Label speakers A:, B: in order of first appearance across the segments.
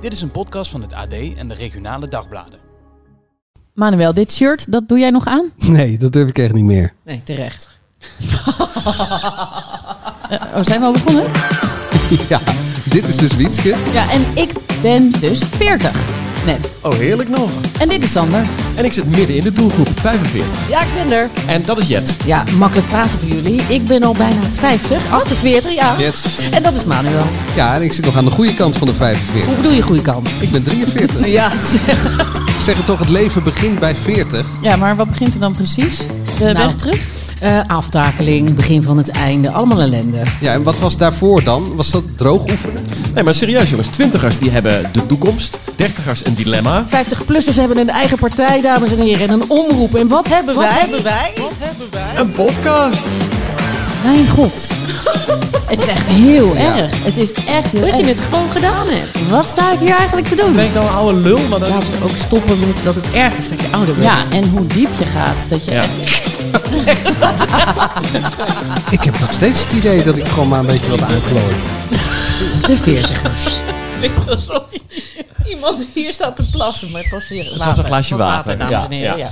A: Dit is een podcast van het AD en de regionale dagbladen.
B: Manuel, dit shirt, dat doe jij nog aan?
C: Nee, dat durf ik echt niet meer.
D: Nee, terecht.
B: Eh, oh, zijn we al begonnen?
C: Ja, dit is dus Wietske.
B: Ja, en ik ben dus 40. Net.
E: Oh, heerlijk nog.
B: En dit is Sander.
E: En ik zit midden in de doelgroep, 45.
D: Ja, ik ben er.
E: En dat is Jet.
D: Ja, makkelijk praten voor jullie. Ik ben al bijna 50, 48 jaar.
C: Yes.
D: En dat is Manuel.
C: Ja, en ik zit nog aan de goede kant van de 45.
D: Hoe bedoel je goede kant?
C: Ik ben 43.
D: Ja,
C: Ze Zeggen toch, het leven begint bij 40.
B: Ja, maar wat begint er dan precies? De weg terug?
D: Nou, eh, aftakeling, begin van het einde, allemaal ellende.
C: Ja, en wat was daarvoor dan? Was dat droog oefenen?
E: Nee, maar serieus jongens. Twintigers die hebben de toekomst. Dertigers een dilemma.
D: 50-plussers hebben een eigen partij, dames en heren, en een omroep. En wat hebben wij? hebben wij?
E: Een podcast.
B: Mijn god. Het is echt heel erg. Het is echt heel
D: Dat je
B: erg.
D: het gewoon gedaan hebt.
B: Wat sta ik hier eigenlijk te doen?
E: Ben ik nou een oude lul? Maar dan...
D: Laten we ook stoppen met dat het erg is dat je ouder bent.
B: Ja, en hoe diep je gaat. Dat je
E: Ja.
C: Ik heb nog steeds het idee dat ik gewoon maar een beetje wil aanklooien.
D: de 40ers.
F: ligt alsof iemand hier staat te plassen. Maar het was hier
E: was een glaasje water.
F: dames en
E: Ja,
F: heren.
E: ja.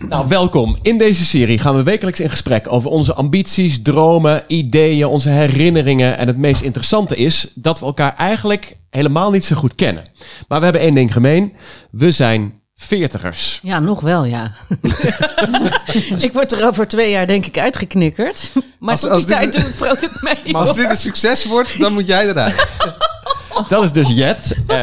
F: Ja.
E: Nou, welkom. In deze serie gaan we wekelijks in gesprek over onze ambities, dromen, ideeën, onze herinneringen. En het meest interessante is dat we elkaar eigenlijk helemaal niet zo goed kennen. Maar we hebben één ding gemeen. We zijn veertigers.
D: Ja, nog wel, ja.
F: Ik word er over twee jaar denk ik uitgeknikkerd. Maar
C: Als-
F: tot
C: als
F: die tijd
C: dit-
F: doe ik vrolijk mee.
C: Als dit een succes wordt, dan moet jij eruit.
D: Oh.
E: Dat is dus Jet. Eh,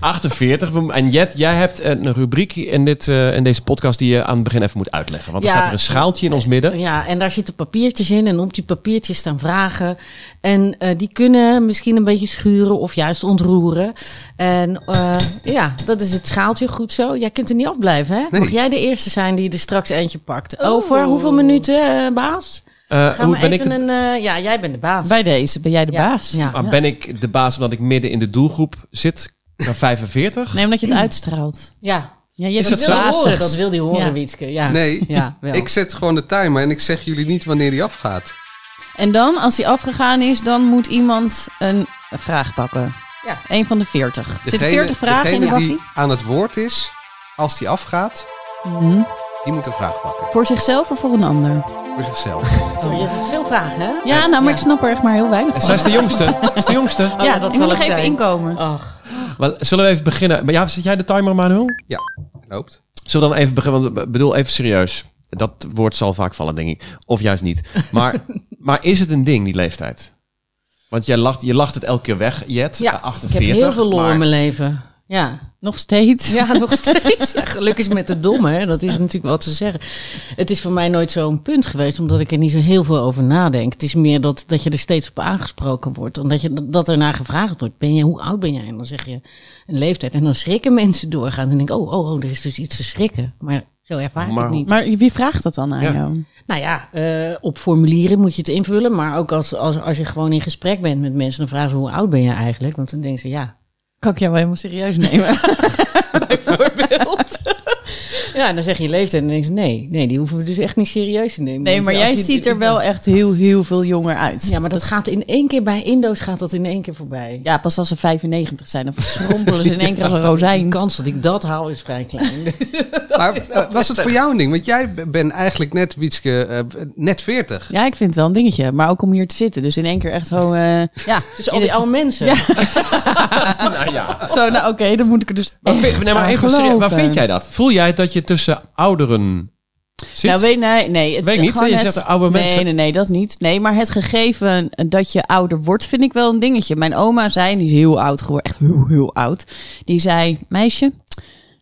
E: 48. We- En Jet, jij hebt een rubriek in, dit, eh, in deze podcast die je aan het begin even moet uitleggen. Want er
D: Ja.
E: staat er een schaaltje in ons midden.
D: Ja, en daar zitten papiertjes in. En op die papiertjes staan vragen. En eh, die kunnen misschien een beetje schuren of juist ontroeren. En eh, ja, dat is het schaaltje. Goed zo. Jij kunt er niet afblijven, hè?
C: Nee.
D: Mag jij de eerste zijn die er straks eentje pakt?
B: Oh.
F: Oeh.
D: Over hoeveel minuten, eh, baas?
E: Eh,
D: Gaan
E: hoe
D: we
E: ben ik,
D: even
E: de,
D: een... eh, ja, jij bent de baas.
B: Bij deze ben jij de
D: Ja,
B: baas.
D: Ja.
E: ah, ben ik de baas omdat ik midden in de doelgroep zit? Naar 45?
B: Nee, omdat je het uitstraalt.
D: ja.
B: Ja, je bent
E: Is dat zo?
D: Wil
B: baas.
D: je horen, dat wil die horen,
B: Ja.
D: Wietske. Ja.
C: Nee,
D: Ja, wel.
C: ik zet gewoon de timer en ik zeg jullie niet wanneer die afgaat.
B: En dan, als die afgegaan is, dan moet iemand een vraag pakken.
D: Ja.
B: Een van de 40. Zitten 40 vragen in de
C: degene
B: bakkie?
C: die aan het woord is, als die afgaat,
B: Mhm.
C: die moet een vraag pakken.
B: Voor zichzelf of voor een ander?
C: Voor zichzelf.
D: Zo, Oh, je hebt veel vragen, hè?
B: Ja, nou, maar
D: Ja.
B: ik snap er echt maar heel weinig
E: En
B: van.
E: Zij is de jongste. Zij is de jongste.
D: Oh,
B: ja,
D: dat
B: dat ik
D: zal
B: moet nog
D: het
B: even
D: zijn.
B: inkomen.
D: Ach,
E: Wel, zullen we even beginnen? Maar Ja, zet jij de timer, Manuel?
C: Loopt.
E: Zullen we dan even beginnen? Want ik bedoel, even serieus. Dat woord zal vaak vallen, denk ik. Of juist niet. Maar, maar is het een ding, die leeftijd? Want jij lacht, je lacht het elke keer weg, Jet.
D: ja.
E: Eh, 48,
D: ik heb heel veel lol
E: maar-
D: in mijn leven. Ja.
B: Nog steeds.
D: Ja, nog steeds. Ja, Gelukkig is met de domme, hè. dat is natuurlijk wat ze zeggen. Het is voor mij nooit zo'n punt geweest, omdat ik er niet zo heel veel over nadenk. Het is meer dat, dat je er steeds op aangesproken wordt, omdat je, dat er naar gevraagd wordt. Ben je, hoe oud ben jij? En dan zeg je een leeftijd. En dan schrikken mensen doorgaan en denken, oh, oh, oh, er is dus iets te schrikken. Maar zo ervaar ik
E: Maar-
D: het niet.
B: Maar wie vraagt dat dan aan
E: Ja.
B: jou?
D: Nou ja, eh, op formulieren moet je het invullen. Maar ook als, als, als je gewoon in gesprek bent met mensen, dan vragen ze hoe oud ben je eigenlijk? Want dan denken ze, ja,
B: Kan ik jou wel helemaal serieus nemen?
D: bijvoorbeeld. ja, en dan zeg je leeftijd en dan denk je, nee, nee, die hoeven we dus echt niet serieus te nemen.
B: Nee,
D: Want
B: maar
D: als
B: jij
D: je-
B: ziet er wel echt heel, heel veel jonger uit.
D: Ja, maar dat gaat in één keer bij Indo's gaat dat in één keer voorbij.
B: Ja, pas als ze 95 zijn, dan verschrompelen ze in één keer als een rozijn.
D: De kans dat ik dat haal is vrij klein. Dus
C: Maar eh, was het voor jou een ding? Want jij b- bent eigenlijk net, Wietske, eh, net 40.
B: Ja, ik vind het wel een dingetje. Maar ook om hier te zitten. Dus in één keer echt gewoon... eh, ja,
D: Dus al
B: in
D: die
B: het-
D: oude mensen.
B: Ja.
E: Nou ja.
B: Zo, nou oké, dan moet ik er dus
E: Maar, vind,
B: echt
E: nee, maar
B: aan
E: even serieus, waar
B: geloven.
E: vind jij dat? Voel jij dat je tussen ouderen zit?
B: Nou, weet, nee, nee, het,
E: Weet ik niet,
B: gewoon
E: hè? Je
B: het-
E: zegt oude
B: nee,
E: mensen.
B: Nee, nee, dat niet. Nee, maar het gegeven dat je ouder wordt, vind ik wel een dingetje. Mijn oma zei, en die is heel oud geworden, echt heel, heel oud. Die zei, meisje,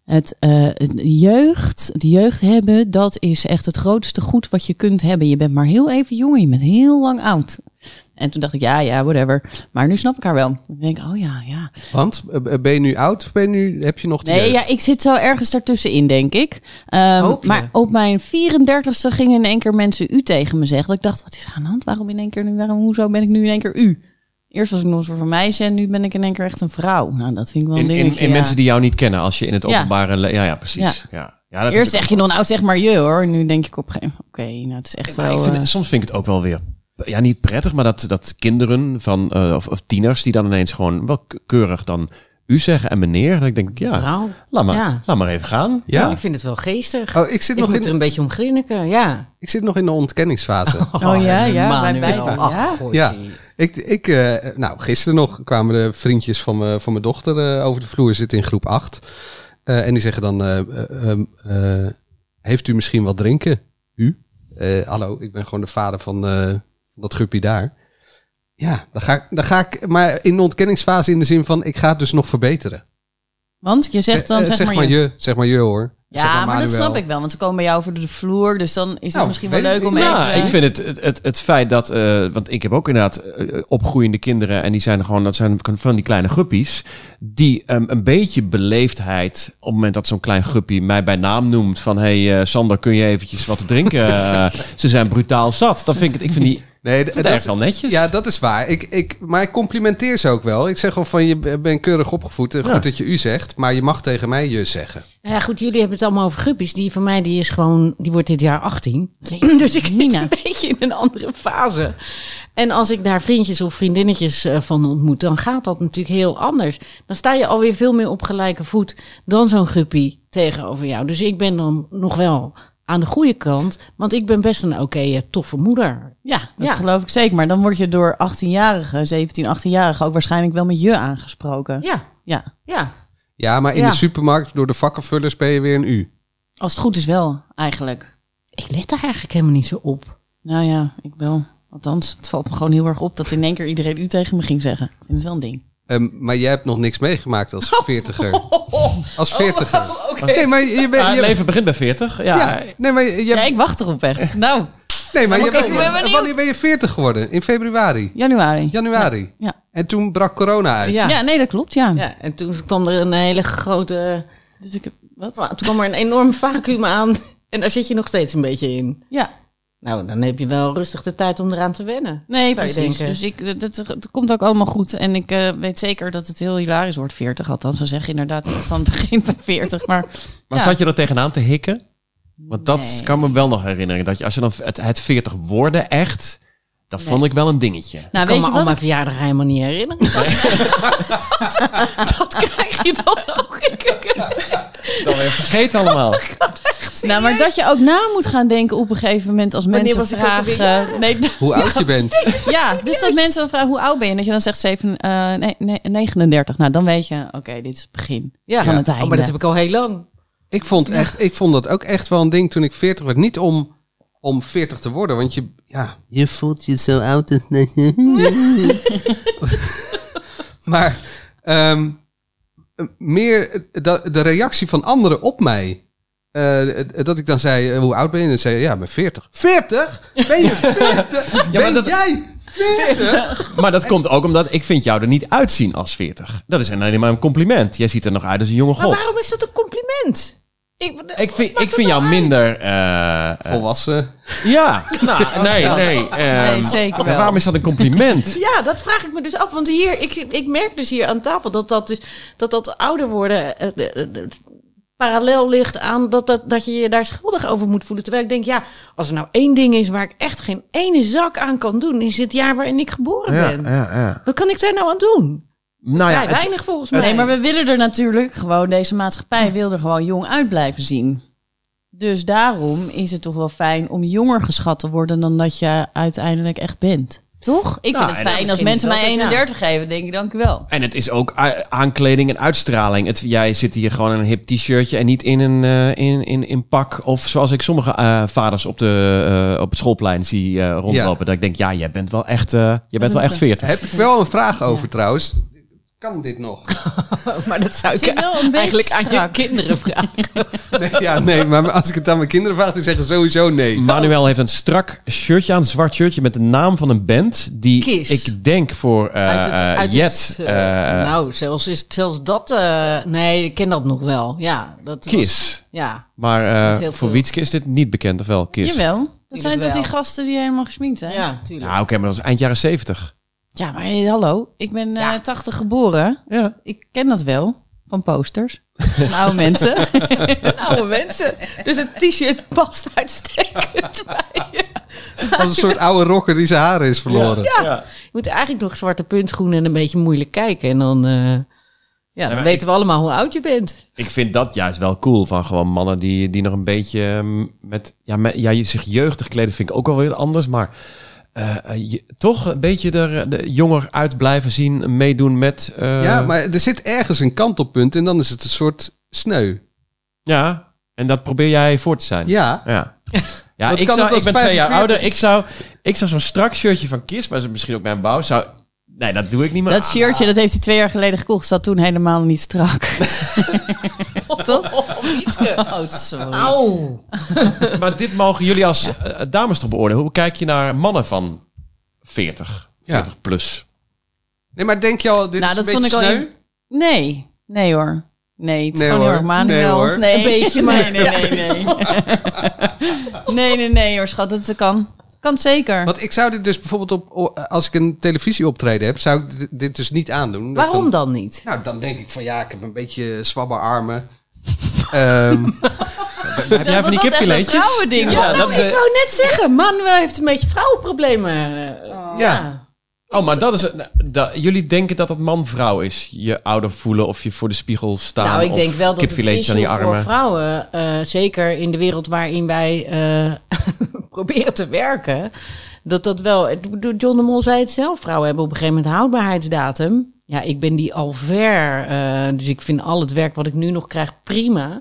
B: het, eh, het jeugd, het jeugd hebben, dat is echt het grootste goed wat je kunt hebben. Je bent maar heel even jong en je bent heel lang oud. En toen dacht ik, ja, ja, whatever. Maar nu snap ik haar wel. Ik denk, oh ja, ja.
C: Want eh, eh, ben je nu oud of ben je nu, heb je nog de
B: Nee,
C: jeugd?
B: ja, ik zit zo ergens daartussenin, denk ik. Ehm,
D: Hoop je.
B: maar op mijn 34ste gingen in één keer mensen u tegen me zeggen. Dat ik dacht, wat is er aan de hand? Waarom in één keer nu? Waarom, hoezo ben ik nu in één keer u? Eerst was ik nog een soort van meisje en nu ben ik in één keer echt een vrouw. Nou, dat vind ik wel een
E: in
B: dingetje.
E: in, in
B: ja.
E: mensen die jou niet kennen, als je in het
B: Ja.
E: openbare... le- Ja, ja, precies. Ja. Ja. dat
B: Eerst
E: heb
B: zeg je nog, nou zeg maar je hoor. En nu denk ik op een gegeven moment, oké, nou het is echt
E: ik- maar
B: wel...
E: ik vind-
B: eh,
E: soms vind ik het ook wel weer... Ja, niet prettig, maar dat, dat kinderen van, eh, of, of tieners die dan ineens gewoon wel k- keurig dan... u zeggen en meneer. Dat ik denk, ja,
D: Vrouw.
E: laat maar,
D: Ja.
E: laat maar even gaan.
C: Ja?
D: Nou, Ik vind het wel geestig.
C: Oh, ik zit,
D: ik
C: nog
D: moet er
C: in,
D: een beetje om grinniken, ja.
C: ik zit nog in de ontkenningsfase.
B: Oh ja, ja, wij
D: Manuel.
B: beiden.
D: Ach,
B: Ja.
D: goeie.
C: Ah. Ja, ik, ik, eh, nou, gisteren nog kwamen de vriendjes van, me, van mijn dochter eh, over de vloer, zitten in groep 8. Eh, en die zeggen dan, eh, eh, ehm, eh, heeft u misschien wat drinken? U? Eh, hallo, ik ben gewoon de vader van eh, van dat guppie daar. Ja, dan ga, ik- dan ga ik, maar in de ontkenningsfase in de zin van, ik ga het dus nog verbeteren.
B: Want je zegt dan,
C: Eh,
B: zeg, maar, je.
C: je. Zeg maar je hoor. Zeg
B: Ja, maar dat
C: Manuel.
B: snap ik wel, want ze komen bij jou over de vloer, dus dan is het
C: Nou,
B: misschien wel
C: weet ik
B: leuk om
C: niet.
B: even...
E: Nou, ik vind het, het, het, het feit dat, eh, want ik heb ook inderdaad eh, opgroeiende kinderen en die zijn gewoon, dat zijn van die kleine guppies, die ehm, een beetje beleefdheid op het moment dat zo'n klein guppie mij bij naam noemt van, hey eh, Sander, kun je eventjes wat te drinken? Eh, ze zijn brutaal zat. Dan vind ik het, ik vind die ik
C: Nee, d-
E: vind het
C: dat-
E: eigenlijk wel
B: Dus-
E: netjes.
C: Ja, dat is waar. Ik, ik, maar ik complimenteer ze ook wel. Ik zeg gewoon van, je b- bent keurig opgevoed. en Goed
E: Ja.
C: dat je u zegt, maar je mag tegen mij je zeggen.
D: Nou ja, goed, jullie hebben het allemaal over guppies. Die van mij, die is gewoon, die wordt dit jaar 18.
F: Dus ik zit
D: Een
F: een
D: beetje in een andere fase. En als ik daar vriendjes of vriendinnetjes eh, van ontmoet, dan gaat dat natuurlijk heel anders. Dan sta je alweer veel meer op gelijke voet dan zo'n guppie tegenover jou. Dus ik ben dan nog wel aan de goede kant, want ik ben best een oké eh, toffe moeder.
B: Ja, dat
D: Ja.
B: geloof ik zeker. Maar dan word je door 18-jarigen, 17, 18-jarigen ook waarschijnlijk wel met je aangesproken. Ja.
D: Ja, ja.
C: Ja, maar in
D: Ja.
C: de supermarkt door de vakkenvullers ben je weer een u.
B: Als het goed is wel, eigenlijk.
D: Ik let daar eigenlijk helemaal niet zo op.
B: Nou ja, ik wel. Althans, het valt me gewoon heel erg op dat in één keer iedereen u tegen me ging zeggen. Ik vind het wel een ding.
C: Ehm, maar jij hebt nog niks meegemaakt als
B: Oh.
C: veertiger. Als veertiger. Nee, maar je bent...
E: Ah,
C: je-
E: het leven begint bij 40. Ja,
C: ja, nee, maar je,
B: Ja, ik wacht erop echt. Nou,
C: nee, maar je,
B: Ah. Oké, ik
C: bent-
B: ben
C: je- wanneer ben je veertig geworden? In februari?
B: januari.
C: Januari?
B: Ja.
C: En toen brak corona uit.
B: Ja, nee, dat klopt, ja.
D: Ja, en toen kwam er een hele grote...
B: Dus ik heb... Wat?
D: Nou, Toen kwam er een enorm vacuüm aan. En daar zit je nog steeds een beetje in.
B: Ja,
D: Nou, dan heb je wel rustig de tijd om eraan te wennen.
B: nee,
D: Zou je
B: precies.
D: denken.
B: Dus ik, dat, dat- dat komt ook allemaal goed. En ik eh, weet zeker dat het heel hilarisch wordt, 40 althans. Ze zeggen inderdaad dat het dan begint bij 40. Maar
E: Maar
B: Ja.
E: zat je er tegenaan te hikken? Want dat
B: Nee.
E: kan me wel nog herinneren. Dat je, als je dan het, het 40 worden echt, dat vond ik wel een dingetje.
B: nou,
D: Ik kan
B: weet
D: me
B: je
D: al
B: wat?
D: mijn verjaardag helemaal niet herinneren. dat krijg je dan ook.
E: Dan weer vergeet allemaal.
B: Nou, maar dat je ook na moet gaan denken op een gegeven moment als
D: Wanneer
B: mensen
D: was ik ook alweer
B: vragen. Nee, d-
C: Hoe oud je bent.
B: ja, dus dat mensen dan vragen hoe oud ben je? En dat je dan zegt zeven, eh, nee, nee, 39. Nou, dan weet je, oké, dit is het begin
D: Ja,
B: van het
D: Oh,
B: einde.
D: maar dat heb ik al heel lang.
C: Ik vond, echt, ik vond dat ook echt wel een ding toen ik 40 werd. Niet om, om 40 te worden, want je, ja, je voelt je zo oud. als- maar ehm, meer de, de reactie van anderen op mij. Eh, dat ik dan zei, eh, hoe oud ben je? En dan zei je, ja, ik ben 40. 40? Ben je 40? ben
E: dat-
C: jij 40?
E: Maar dat komt ook omdat ik vind jou er niet uitzien als 40. Dat is alleen maar een compliment. Jij ziet er nog uit als een jonge
D: Maar
E: god.
D: waarom is dat een compliment? Ik,
E: Ik vind, ik
D: maakt het
E: vind jou
D: nou uit?
E: minder... eh, eh,
C: Volwassen.
E: ja, nou, nee,
B: ja.
E: nee. ehm,
B: Nee, zeker
E: maar
B: wel.
E: waarom is dat een compliment?
D: Ja, dat vraag ik me dus af. Want hier, ik, ik merk dus hier aan tafel dat dat, dus, dat, dat ouder worden eh, de- de- parallel ligt aan dat, dat, dat je je daar schuldig over moet voelen. Terwijl ik denk, ja, als er nou één ding is waar ik echt geen ene zak aan kan doen, is het jaar waarin ik geboren
E: Ja,
D: ben.
E: ja, ja.
D: Wat kan ik daar nou aan doen?
E: Nou ja,
D: Vrij
E: het-
D: weinig volgens mij.
B: Nee, maar we willen er natuurlijk gewoon, deze maatschappij wil er gewoon jong uit blijven zien. Dus daarom is het toch wel fijn om jonger geschat te worden dan dat je uiteindelijk echt bent. Toch? Ik
E: Nou,
B: vind
E: en
B: het fijn als
D: dat vind
B: mensen
D: ik
B: mij
D: wel, ja.
B: 31 geven, denk ik, dank u wel.
E: En het is ook a- aankleding en uitstraling. Het, jij zit hier gewoon in een hip t-shirtje en niet in een eh, in, in, in pak. Of zoals ik sommige eh, vaders op, de, eh, op het schoolplein zie eh, rondlopen. Dat ik denk, ja, jij bent wel echt, eh, jij bent wel echt 40.
C: Heb ik wel een vraag over trouwens. Kan dit nog?
D: Maar dat zou
B: Het zit wel een beetje
D: eigenlijk aan je
B: strak.
D: kinderen vragen.
C: Nee, ja, nee, maar als ik het aan mijn kinderen vraag, die zeggen sowieso nee.
D: Oh.
E: Manuel heeft een strak shirtje aan, een zwart shirtje met de naam van een band. Die
D: Kiss.
E: ik denk voor eh
D: Uit het-
E: eh,
D: uit het,
E: Jet.
D: eh,
E: eh,
D: nou, zelfs, is, zelfs dat... eh, nee, ik ken dat nog wel. Ja, dat was-
E: Kiss.
D: ja,
E: Maar eh,
D: Met heel
E: voor
D: veel.
E: Wietske is dit niet bekend, of wel? Kiss.
B: Jawel. Dat
D: Tuurlijk
B: zijn toch die
D: wel.
B: gasten die helemaal gesminkt zijn?
D: ja, tuurlijk.
E: Ja, Nou, oké, maar dat is eind jaren 70.
B: Ja, maar hey, hallo, ik ben eh,
D: Ja.
B: 80 geboren.
E: Ja.
B: Ik ken dat wel van posters. Van oude mensen.
F: oude mensen. Dus het t-shirt past uitstekend bij je.
C: Als een soort oude rocker die zijn haren is verloren.
D: Je moet eigenlijk nog zwarte puntschoenen en een beetje moeilijk kijken. En dan, eh,
F: Ja, dan
E: maar
F: weten we allemaal hoe oud je bent.
E: Ik vind dat juist wel cool van gewoon mannen die, die nog een beetje ehm, met, ja, met ja, je- zich jeugdig kleden vind ik ook wel weer anders, maar eh, eh, je- toch een beetje er de jonger uit blijven zien, meedoen met. eh,
C: ja, maar er zit ergens een kantelpunt en dan is het een soort sneu.
E: ja, en dat probeer jij voor te zijn.
C: Ja,
E: Ja. Ja,
C: Wat
E: ik,
C: kan het
E: zou, ik
C: als
E: ben twee jaar
C: 45?
E: ouder. Ik zou, ik zou zo'n strak shirtje van Kiss, maar dat is misschien ook mijn bouw, zou... Nee, dat doe ik niet meer.
B: Dat shirtje, dat heeft hij twee jaar geleden gekocht. Zat toen helemaal niet strak. Toch? Oh, sorry.
F: Auw.
E: Maar dit mogen jullie als eh, dames toch beoordelen. Hoe kijk je naar mannen van 40,
C: Ja.
E: 40 plus?
C: nee, maar denk je al, dit
B: Nou,
C: is
B: dat
C: een
B: vond
C: beetje
B: ik al
C: sneu?
B: in- Nee, nee hoor. Nee, het is
C: Nee,
B: gewoon heel
C: hoor.
B: erg manuel.
C: Nee, hoor.
B: Een beetje, maar... Nee, nee, nee. Nee, nee, nee, nee hoor, schat. Het kan. Het kan zeker.
C: Want ik zou dit dus bijvoorbeeld op, als ik een televisieoptreden heb, zou ik dit- dit dus niet aandoen. Dat
F: Waarom dan niet?
C: Nou, dan denk ik van ja, ik heb een beetje zwabbe armen. Ehm,
E: Heb jij van die kipfiletjes?
B: vrouwending.
E: Ja, dat is, eh,
F: Oh, nou, Ik wou net zeggen, man eh, heeft een beetje vrouwenproblemen. eh,
C: ja.
E: oh, maar dat is... nou, dat- jullie denken dat dat man-vrouw is? Je ouder voelen of je voor de spiegel staan
D: Nou, ik
E: of
D: denk wel dat het
E: kipfiletjes aan je
D: issue voor
E: armen.
D: vrouwen, eh, zeker in de wereld waarin wij eh, proberen te werken, dat dat wel. ik bedoel, John de Mol zei het zelf: vrouwen hebben op een gegeven moment houdbaarheidsdatum. Ja, ik ben die al ver, eh, dus ik vind al het werk wat ik nu nog krijg prima.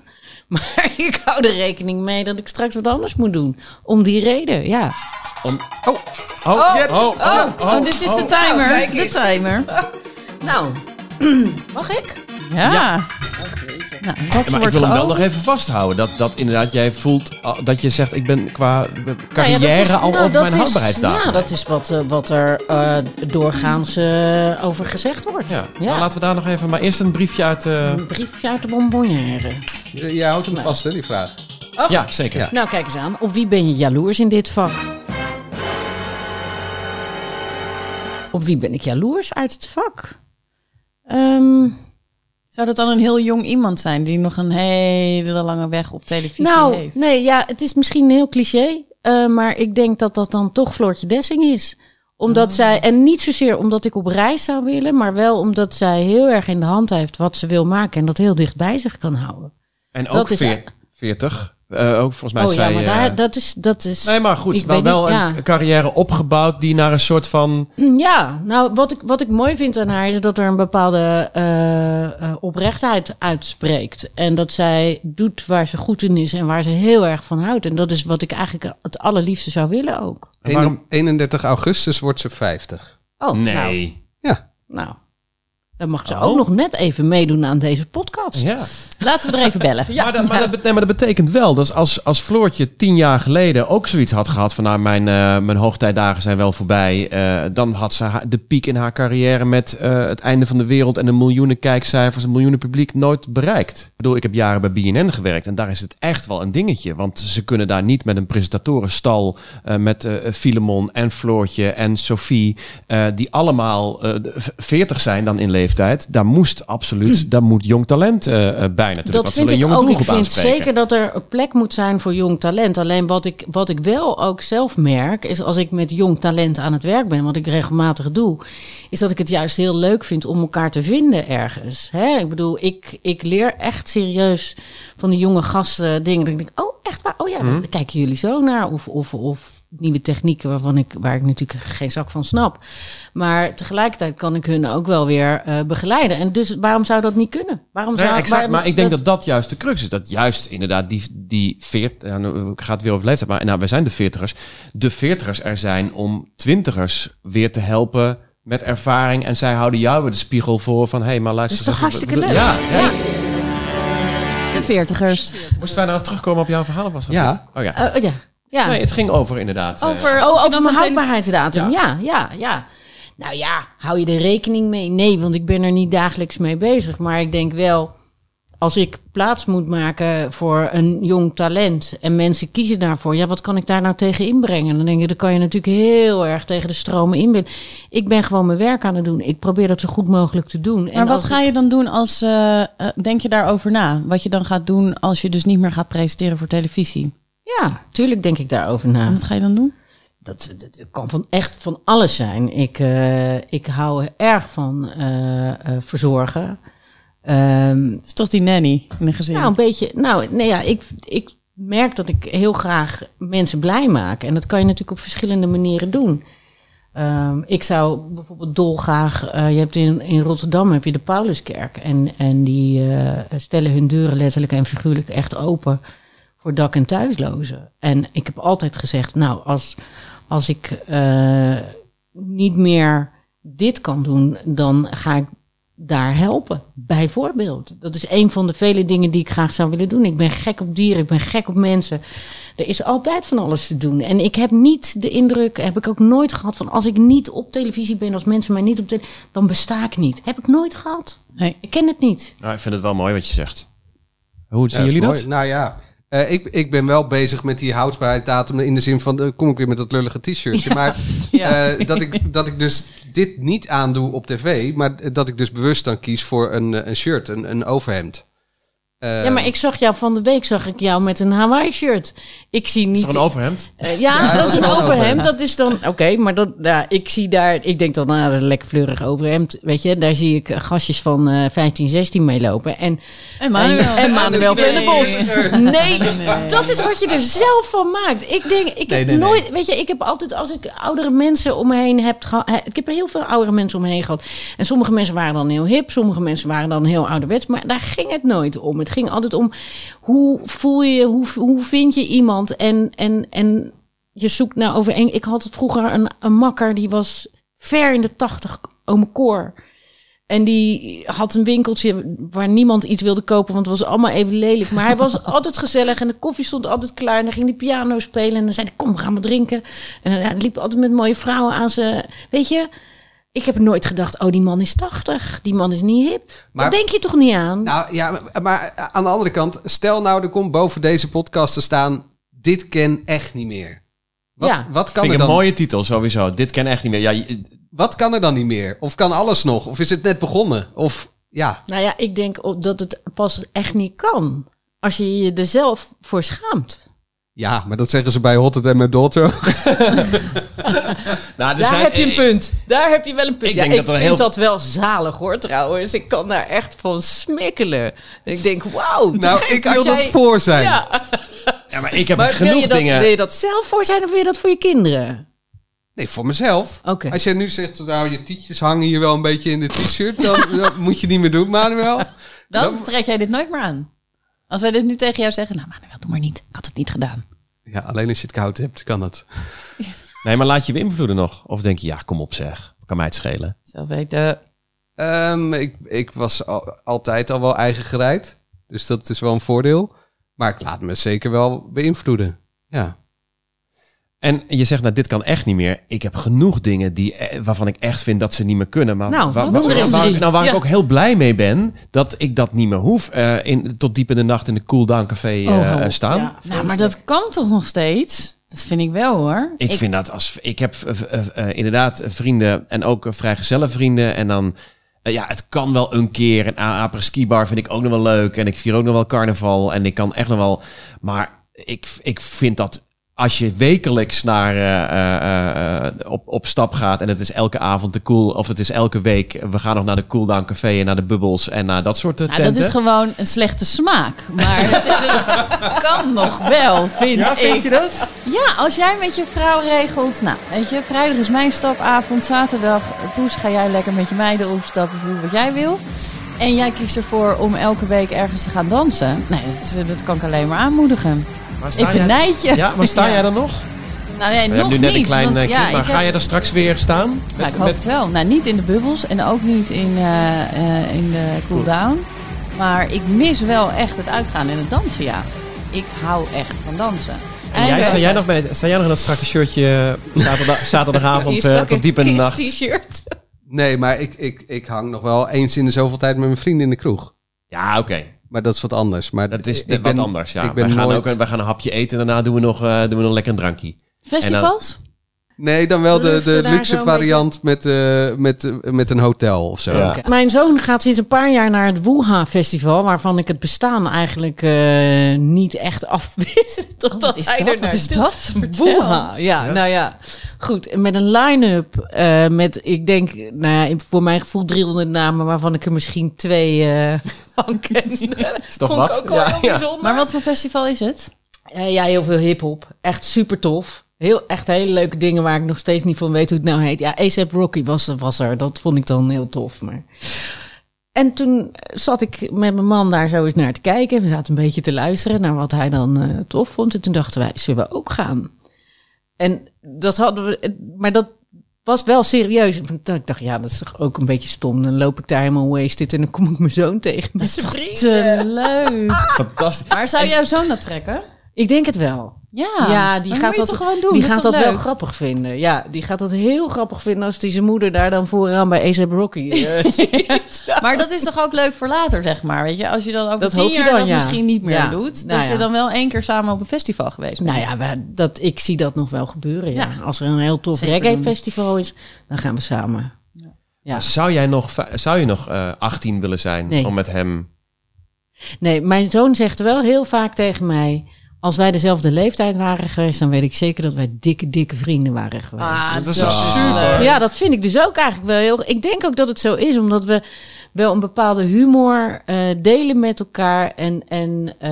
D: Maar ik hou er rekening mee dat ik straks wat anders moet doen. Om die reden, ja.
E: Om-
C: Oh.
E: Oh,
F: Oh,
E: oh, oh, oh.
B: Oh, dit is de
F: Nou,
B: timer.
F: kijk
B: De
F: eens.
B: timer.
F: Nou, mag ik?
B: Ja. Nou, dat
E: Maar ik
B: wordt
E: wil hem wel
B: geopend.
E: nog even vasthouden. Dat, dat inderdaad jij voelt ah, dat je zegt: ik ben qua eh,
D: Nou ja,
E: carrière
D: dat is-
E: al
D: nou,
E: over
D: dat
E: mijn
D: is-
E: houdbaarheidsdatum.
D: Ja, dat is wat, eh, wat er eh, doorgaans eh, over gezegd wordt.
E: Ja, nou laten we daar nog even. Maar eerst een briefje uit. eh,
D: Een briefje uit de bonbonnière.
C: J- Jij houdt hem vast, hè, die vraag.
E: Ja, zeker.
C: Ja.
D: Nou, kijk eens aan. Op wie ben je jaloers in dit vak? Op wie ben ik jaloers uit het vak? Ehm,
B: Zou dat dan een heel jong iemand zijn die nog een hele lange weg op televisie
D: nou,
B: heeft?
D: nee, ja, het is misschien heel cliché. eh, maar ik denk dat dat dan toch Floortje Dessing is. Omdat zij, en niet zozeer omdat ik op reis zou willen, maar wel omdat zij heel erg in de hand heeft wat ze wil maken en dat heel dicht bij zich kan houden.
E: En ook
D: Dat is-
E: veer- 40. eh, ook volgens mij
D: oh
E: zei
D: ja, maar
E: eh,
D: daar, dat is. Dat is
E: Nee, maar goed.
D: ik
E: Wel,
D: weet
E: wel
D: niet,
E: een carrière opgebouwd die naar een soort van.
D: Ja, nou, wat ik, wat ik mooi vind aan haar is dat er een bepaalde eh, eh, oprechtheid uitspreekt. En dat zij doet waar ze goed in is en waar ze heel erg van houdt. En dat is wat ik eigenlijk het allerliefste zou willen ook.
E: En waarom-
C: 31 augustus wordt ze 50.
D: Oh, Nou,
E: Nee.
C: Ja.
D: nou, dan mag ze
E: Oh.
D: ook nog net even meedoen aan deze podcast.
E: Ja.
B: Laten we er even bellen.
E: maar, dat, maar, dat, bet- nee, maar dat betekent wel dat als, als Floortje tien jaar geleden ook zoiets had gehad van nou, mijn, eh, mijn hoogtijdagen zijn wel voorbij, eh, dan had ze haar- de piek in haar carrière met eh, het einde van de wereld en de miljoenen kijkcijfers, een miljoenen publiek nooit bereikt. Ik bedoel, ik heb jaren bij BNN gewerkt en daar is het echt wel een dingetje, want ze kunnen daar niet met een presentatorenstal eh, met eh Filemon en Floortje en Sophie, eh, die allemaal eh, de- v- 40 zijn dan in leeftijd, daar moest absoluut, daar moet jong talent eh, eh, bij natuurlijk. want
D: Dat
E: ze
D: vind
E: willen
D: ik
E: jonge
D: ook. Ik
E: doelgroep
D: vind
E: aanspreken.
D: zeker dat er een plek moet zijn voor jong talent. Alleen wat ik, wat ik wel ook zelf merk, is als ik met jong talent aan het werk ben, wat ik regelmatig doe, is dat ik het juist heel leuk vind om elkaar te vinden ergens. Hè? Ik bedoel, ik, ik leer echt serieus van die jonge gasten dingen. Dat ik denk, oh, echt waar? Oh ja,
E: Mhm.
D: daar kijken jullie zo naar. Of, of, of nieuwe technieken waarvan ik, waar ik natuurlijk geen zak van snap. Maar tegelijkertijd kan ik hun ook wel weer eh, begeleiden. En dus waarom zou dat niet kunnen? Waarom
E: Nee,
D: zou,
E: Nou exact,
D: waar-
E: maar ik denk dat dat juist de crux is. Dat juist inderdaad die, die 40, ja, nou, ik ga het weer over leeftijd, maar nou, wij zijn de veertigers. De veertigers er zijn om twintigers weer te helpen met ervaring. En zij houden jou weer de spiegel voor van, hé, hey, maar luister.
D: Dat is toch
E: eens,
D: hartstikke
E: we- we-
D: leuk?
E: Ja, ja.
B: De veertigers.
E: Moesten wij nou terugkomen op jouw verhaal? of Was dat
C: Ja.
E: niet? Oh ja.
D: Eh, oh ja. ja.
E: Nee, het ging over inderdaad. eh,
B: Over,
D: oh,
B: of je dan
D: over mijn
B: van tele-
D: houdbaarheidsdatum. Ja. ja, ja, Nou ja, hou je er rekening mee? Nee, want ik ben er niet dagelijks mee bezig. Maar ik denk wel, als ik plaats moet maken voor een jong talent en mensen kiezen daarvoor, ja, wat kan ik daar nou tegen inbrengen? Dan denk ik, dan kan je natuurlijk heel erg tegen de stromen in willen. Ik ben gewoon mijn werk aan het doen. Ik probeer dat zo goed mogelijk te doen.
B: Maar wat
D: als
B: ga
D: ik-
B: je dan doen als... eh, eh, denk je daarover na? Wat je dan gaat doen als je dus niet meer gaat presenteren voor televisie?
D: Ja, tuurlijk denk ik daarover na.
B: Wat ga je dan doen?
D: dat, dat kan van echt van alles zijn. Ik, eh, ik hou erg van eh, eh, verzorgen. Ehm,
B: Het is toch die nanny in een gezin.
D: nou, een beetje. Nou, nee, ja, ik, ik merk dat ik heel graag mensen blij maak. En dat kan je natuurlijk op verschillende manieren doen. Ehm, ik zou bijvoorbeeld dolgraag. eh, je hebt in, in Rotterdam heb je de Pauluskerk. En, en die eh, stellen hun deuren letterlijk en figuurlijk echt open voor dak- en thuislozen. En ik heb altijd gezegd, nou, als, als ik eh, niet meer dit kan doen, dan ga ik daar helpen. Bijvoorbeeld. Dat is een van de vele dingen die ik graag zou willen doen. Ik ben gek op dieren, ik ben gek op mensen. Er is altijd van alles te doen. En ik heb niet de indruk, heb ik ook nooit gehad van als ik niet op televisie ben, als mensen mij niet op televisie, dan besta ik niet. Heb ik nooit gehad.
B: Nee.
D: Ik ken het niet.
E: Nou, ik vind het wel mooi wat je zegt. Hoe zien
C: Ja,
E: jullie
C: is
E: dat?
C: mooi. Nou ja, eh, ik, ik ben wel bezig met die houdbaarheidsdatum in de zin van, eh, kom ik weer met dat lullige t-shirtje. Maar eh, dat, ik, dat ik dus dit niet aandoe op tv, maar dat ik dus bewust dan kies voor een, eh, een shirt, een, een overhemd. Eh,
D: ja, maar ik zag jou van de week, zag ik jou met een Hawaii shirt. Ik zie
E: Is
D: niet.
E: er een overhemd?
D: Eh, ja,
C: Ja,
D: dat is een
C: wel een
D: overhemd.
C: overhemd.
D: Dat is dan, oké, maar dat, nou, ik zie daar, ik denk dan, nou, dat is een lekker fleurig overhemd. Weet je, daar zie ik eh, gastjes van eh 15, 16 mee lopen. En
B: En Manuel.
D: En- en Manuel
B: Nee.
D: van den Bos. Nee,
B: Nee.
D: dat is wat je er zelf van maakt. Ik denk,
C: Nee,
D: ik heb
C: nee, nee.
D: nooit, weet je, ik heb altijd als ik oudere mensen om me heen heb gehad, he- ik heb heel veel oudere mensen om me heen gehad. En sommige mensen waren dan heel hip, sommige mensen waren dan heel ouderwets, maar daar ging het nooit om. Het ging altijd om hoe voel je, je, hoe, hoe vind je iemand en, en, en je zoekt naar overeen. Ik had vroeger een, een makker die was ver in de tachtig, oom Cor. En die had een winkeltje waar niemand iets wilde kopen, want het was allemaal even lelijk. Maar hij was altijd gezellig en de koffie stond altijd klaar. En dan ging die piano spelen en dan zei hij, kom, gaan we drinken. En hij liep altijd met mooie vrouwen aan zijn... Weet je, ik heb nooit gedacht, oh, die man is 80, die man is niet hip.
C: Maar-
D: dat denk je toch niet aan?
C: Nou ja, maar, maar aan de andere kant, stel nou er komt boven deze podcast te staan, dit ken echt niet meer. Wat,
D: Ja.
C: wat, kan
E: Vind
C: er
E: ik een
C: dan,
E: mooie titel sowieso. Dit ken echt niet meer. Ja, je-
C: wat kan er dan niet meer? Of kan alles nog? Of is het net begonnen? Of ja,
D: Nou ja, ik denk op- dat het pas echt niet kan. Als je je er zelf voor schaamt.
C: ja maar dat zeggen ze bij Hot en met Daughter.
E: nou, er
F: Daar
E: zijn-
F: heb je een punt. Daar heb je wel een punt.
E: Ik
F: ja,
E: denk
F: ik
E: dat er
F: vind
E: heel-
F: dat wel zalig hoor trouwens. Ik kan daar echt van smikkelen. Ik denk, wauw. te
C: Nou,
F: gek,
C: ik
F: als
C: wil dat
F: jij-
C: voor zijn.
F: Ja,
E: Ja, maar ik heb
F: maar wil
E: genoeg
F: je, dat,
E: dingen.
F: wil je dat zelf?
D: Zelf voor zijn of wil je dat voor je kinderen?
C: Nee, voor mezelf.
D: Oké.
C: Als jij nu zegt, nou, je tietjes hangen hier wel een beetje in de t-shirt, dan, dan moet je niet meer doen, Manuel.
B: Dan trek jij dit nooit meer aan. Als wij dit nu tegen jou zeggen, nou Manuel, doe maar niet. Ik had het niet gedaan.
C: Ja, alleen als je het koud hebt, kan het.
E: Nee, maar laat je beïnvloeden nog. Of denk je, ja, kom op zeg. Kan mij het schelen.
B: Zelf weet ik de...
C: Ehm, ik, ik was al- altijd al wel eigen gereid, dus dat is wel een voordeel. Maar ik laat me zeker wel beïnvloeden. Ja.
E: En je zegt, nou, dit kan echt niet meer. Ik heb genoeg dingen die, eh, waarvan ik echt vind dat ze niet meer kunnen. Maar
D: Nou,
E: waar,
D: wat
E: waar-
D: doen er eens
E: waar ik,
D: drie?
E: nou, waar ik
F: Ja.
E: ook heel blij mee ben, dat ik dat niet meer hoef. eh, in, tot diep in de nacht in de cooldown café eh,
B: Oh, hou op.
E: staan.
B: Nou, maar dat kan toch nog steeds? Dat vind ik wel hoor.
E: Ik, vind dat als. Ik heb eh, eh, eh, inderdaad vrienden en ook eh, vrijgezelle vrienden. En dan. eh, ja, het kan wel een keer. Een apres skibar vind ik ook nog wel leuk. En ik vier ook nog wel carnaval. En ik kan echt nog wel. Maar ik, ik vind dat. Als je wekelijks naar, eh, eh, eh, op, op stap gaat en het is elke avond de cool, of het is elke week, eh, we gaan nog naar de cooldown café en naar de bubbels en naar dat soort eh,
B: Nou,
E: tenten.
B: dat is gewoon een slechte smaak. Maar het is een- kan nog wel, vind ik.
E: dat?
B: Ja, als jij met je vrouw regelt, nou, weet je, vrijdag is mijn stapavond, zaterdag, eh, poes, ga jij lekker met je meiden opstappen, doe wat jij wil. En jij kiest ervoor om elke week ergens te gaan dansen. Nee, dat, dat kan ik alleen maar aanmoedigen. Ik benijd je.
E: Ja, maar sta jij dan nog?
B: Nou nee,
E: We
B: nog
E: hebben nu net
B: niet,
E: een klein
B: want,
E: eh,
B: ja,
E: knip, maar
B: ik
E: ga
B: heb-
E: je daar straks weer staan?
B: nou, ik hoop het wel. Nou, niet in de bubbels en ook niet in, eh, eh, in de cooldown. Maar ik mis wel echt het uitgaan en het dansen, ja. Ik hou echt van dansen.
G: En jij, sta,
B: Eindelijk.
G: jij nog bij, sta jij nog in dat strakke shirtje eh, zaterdag,
F: Je
G: zaterdagavond eh,
F: stak een
G: tot diep in de nacht?
F: t-shirt.
C: Nee, maar ik, ik, ik hang nog wel eens in de zoveel tijd met mijn vrienden in de kroeg.
E: Ja, oké.
C: Maar dat is wat anders. Maar
E: Dat is
C: ik
E: de-
C: ben-
E: wat anders, ja.
C: ik ben
E: we, gaan
C: nooit-
E: eh, ook, een- we gaan een hapje eten en daarna doen we nog, eh, doen we nog lekker een drankje.
B: Festivals?
C: Nee, dan wel de,
D: Luften
C: de
D: daar
C: luxe
D: zo'n
C: variant met, eh, met, eh, met een hotel of zo.
E: Ja.
D: Oké. Mijn zoon gaat sinds een paar jaar naar het Wuha Festival, waarvan ik het bestaan eigenlijk eh, niet echt afwist.
B: Oh,
D: Totdat
F: Wat is
D: hij
F: dat?
D: er
F: Wat is
D: naartoe-
F: dat?
D: Wuha, ja, nou ja. Goed, en met een line-up eh, met, ik denk, nou ja, in- voor mijn gevoel 300 namen, waarvan ik er misschien twee eh van ken.
E: Is toch
F: Vond ik
E: wat?
F: ook wel heel bijzonder.
B: Maar wat voor festival is het?
D: Eh, ja, heel veel hip-hop. Echt super tof. Heel, echt hele leuke dingen waar ik nog steeds niet van weet hoe het nou heet. Ja, ASAP Rocky was, was er. Dat vond ik dan heel tof. Maar... En toen zat ik met mijn man daar zo eens naar te kijken. We zaten een beetje te luisteren naar wat hij dan eh, tof vond. En toen dachten wij, zullen we ook gaan? En dat hadden we, eh, maar dat was wel serieus. Want Ik dacht, ja, dat is toch ook een beetje stom. Dan loop ik daar helemaal wasted en dan kom ik mijn zoon tegen. met zijn vrienden.
B: Te leuk.
E: Fantastisch.
B: Maar zou jouw zoon dat trekken?
D: Ik denk het wel.
B: Ja,
D: Ja, die
B: dan
D: gaat
B: moet je
D: dat-
B: toch gewoon doen.
D: Die
B: is
D: gaat
B: toch
D: dat wel
B: leuk?
D: grappig vinden. Ja, die gaat dat heel grappig vinden als die zijn moeder daar dan vooraan bij A$AP Rocky. eh,
B: Maar dat is toch ook leuk voor later, zeg maar. Weet je, als je dan over
D: Dat
B: tien
D: hoop je
B: jaar
D: dan,
B: dat
D: ja.
B: misschien niet meer
D: Ja.
B: doet,
D: Nou
B: dat
D: ja.
B: je dan wel één keer samen op een festival geweest bent.
D: nou ja, we- dat, ik zie dat nog wel gebeuren. Ja.
B: Ja.
D: Als er een heel tof
B: Zeker
D: reggae
B: doen.
D: festival is, dan gaan we samen. Ja.
E: Zou jij nog, va- zou je nog eh 18 willen zijn
D: Nee.
E: om met hem...
D: Nee, mijn zoon zegt wel heel vaak tegen mij... Als wij dezelfde leeftijd waren geweest, dan weet ik zeker dat wij dikke, dikke vrienden waren geweest.
B: Ah,
E: Dat is
B: dat
E: toch
B: is
E: super?
B: leuk.
D: Ja, dat vind ik dus ook eigenlijk wel heel. Ik denk ook dat het zo is, omdat we wel een bepaalde humor eh, delen met elkaar. En, en eh,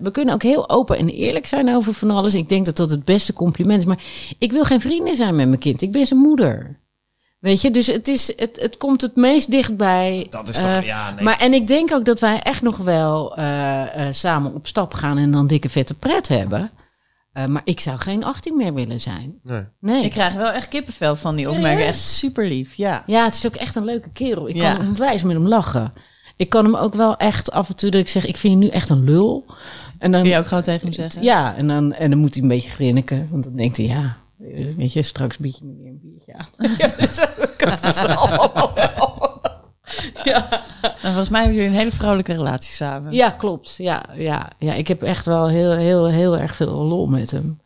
D: we kunnen ook heel open en eerlijk zijn over van alles. Ik denk dat dat het beste compliment is. Maar ik wil geen vrienden zijn met mijn kind. Ik ben zijn moeder. Weet je, dus het, is, het, het komt het meest dichtbij.
E: Dat is toch...
D: eh,
E: ja, nee.
D: Maar en ik denk ook dat wij echt nog wel eh, eh, samen op stap gaan en dan dikke vette pret hebben. Eh, maar ik zou geen 18 meer willen zijn.
E: Nee.
D: Nee.
B: Ik krijg wel echt kippenvel van die
D: Serieus?
B: opmerking. Echt super lief, ja.
D: Ja, het is ook echt een leuke kerel. Ik
B: Ja.
D: kan onwijs met hem lachen. Ik kan hem ook wel echt af en toe dat ik zeg, ik vind je nu echt een lul. En dan,
B: Kun je ook gewoon tegen hem zeggen.
D: ja, en dan, en dan moet hij een beetje grinniken. Want dan denkt hij, ja, eh, weet je, straks bied je me weer een biertje aan. dus
B: En Nou, volgens mij hebben jullie een hele vrouwelijke relatie samen.
D: Ja, klopt. Ja, ja, ja, ik heb echt wel heel, heel, heel erg veel lol met hem.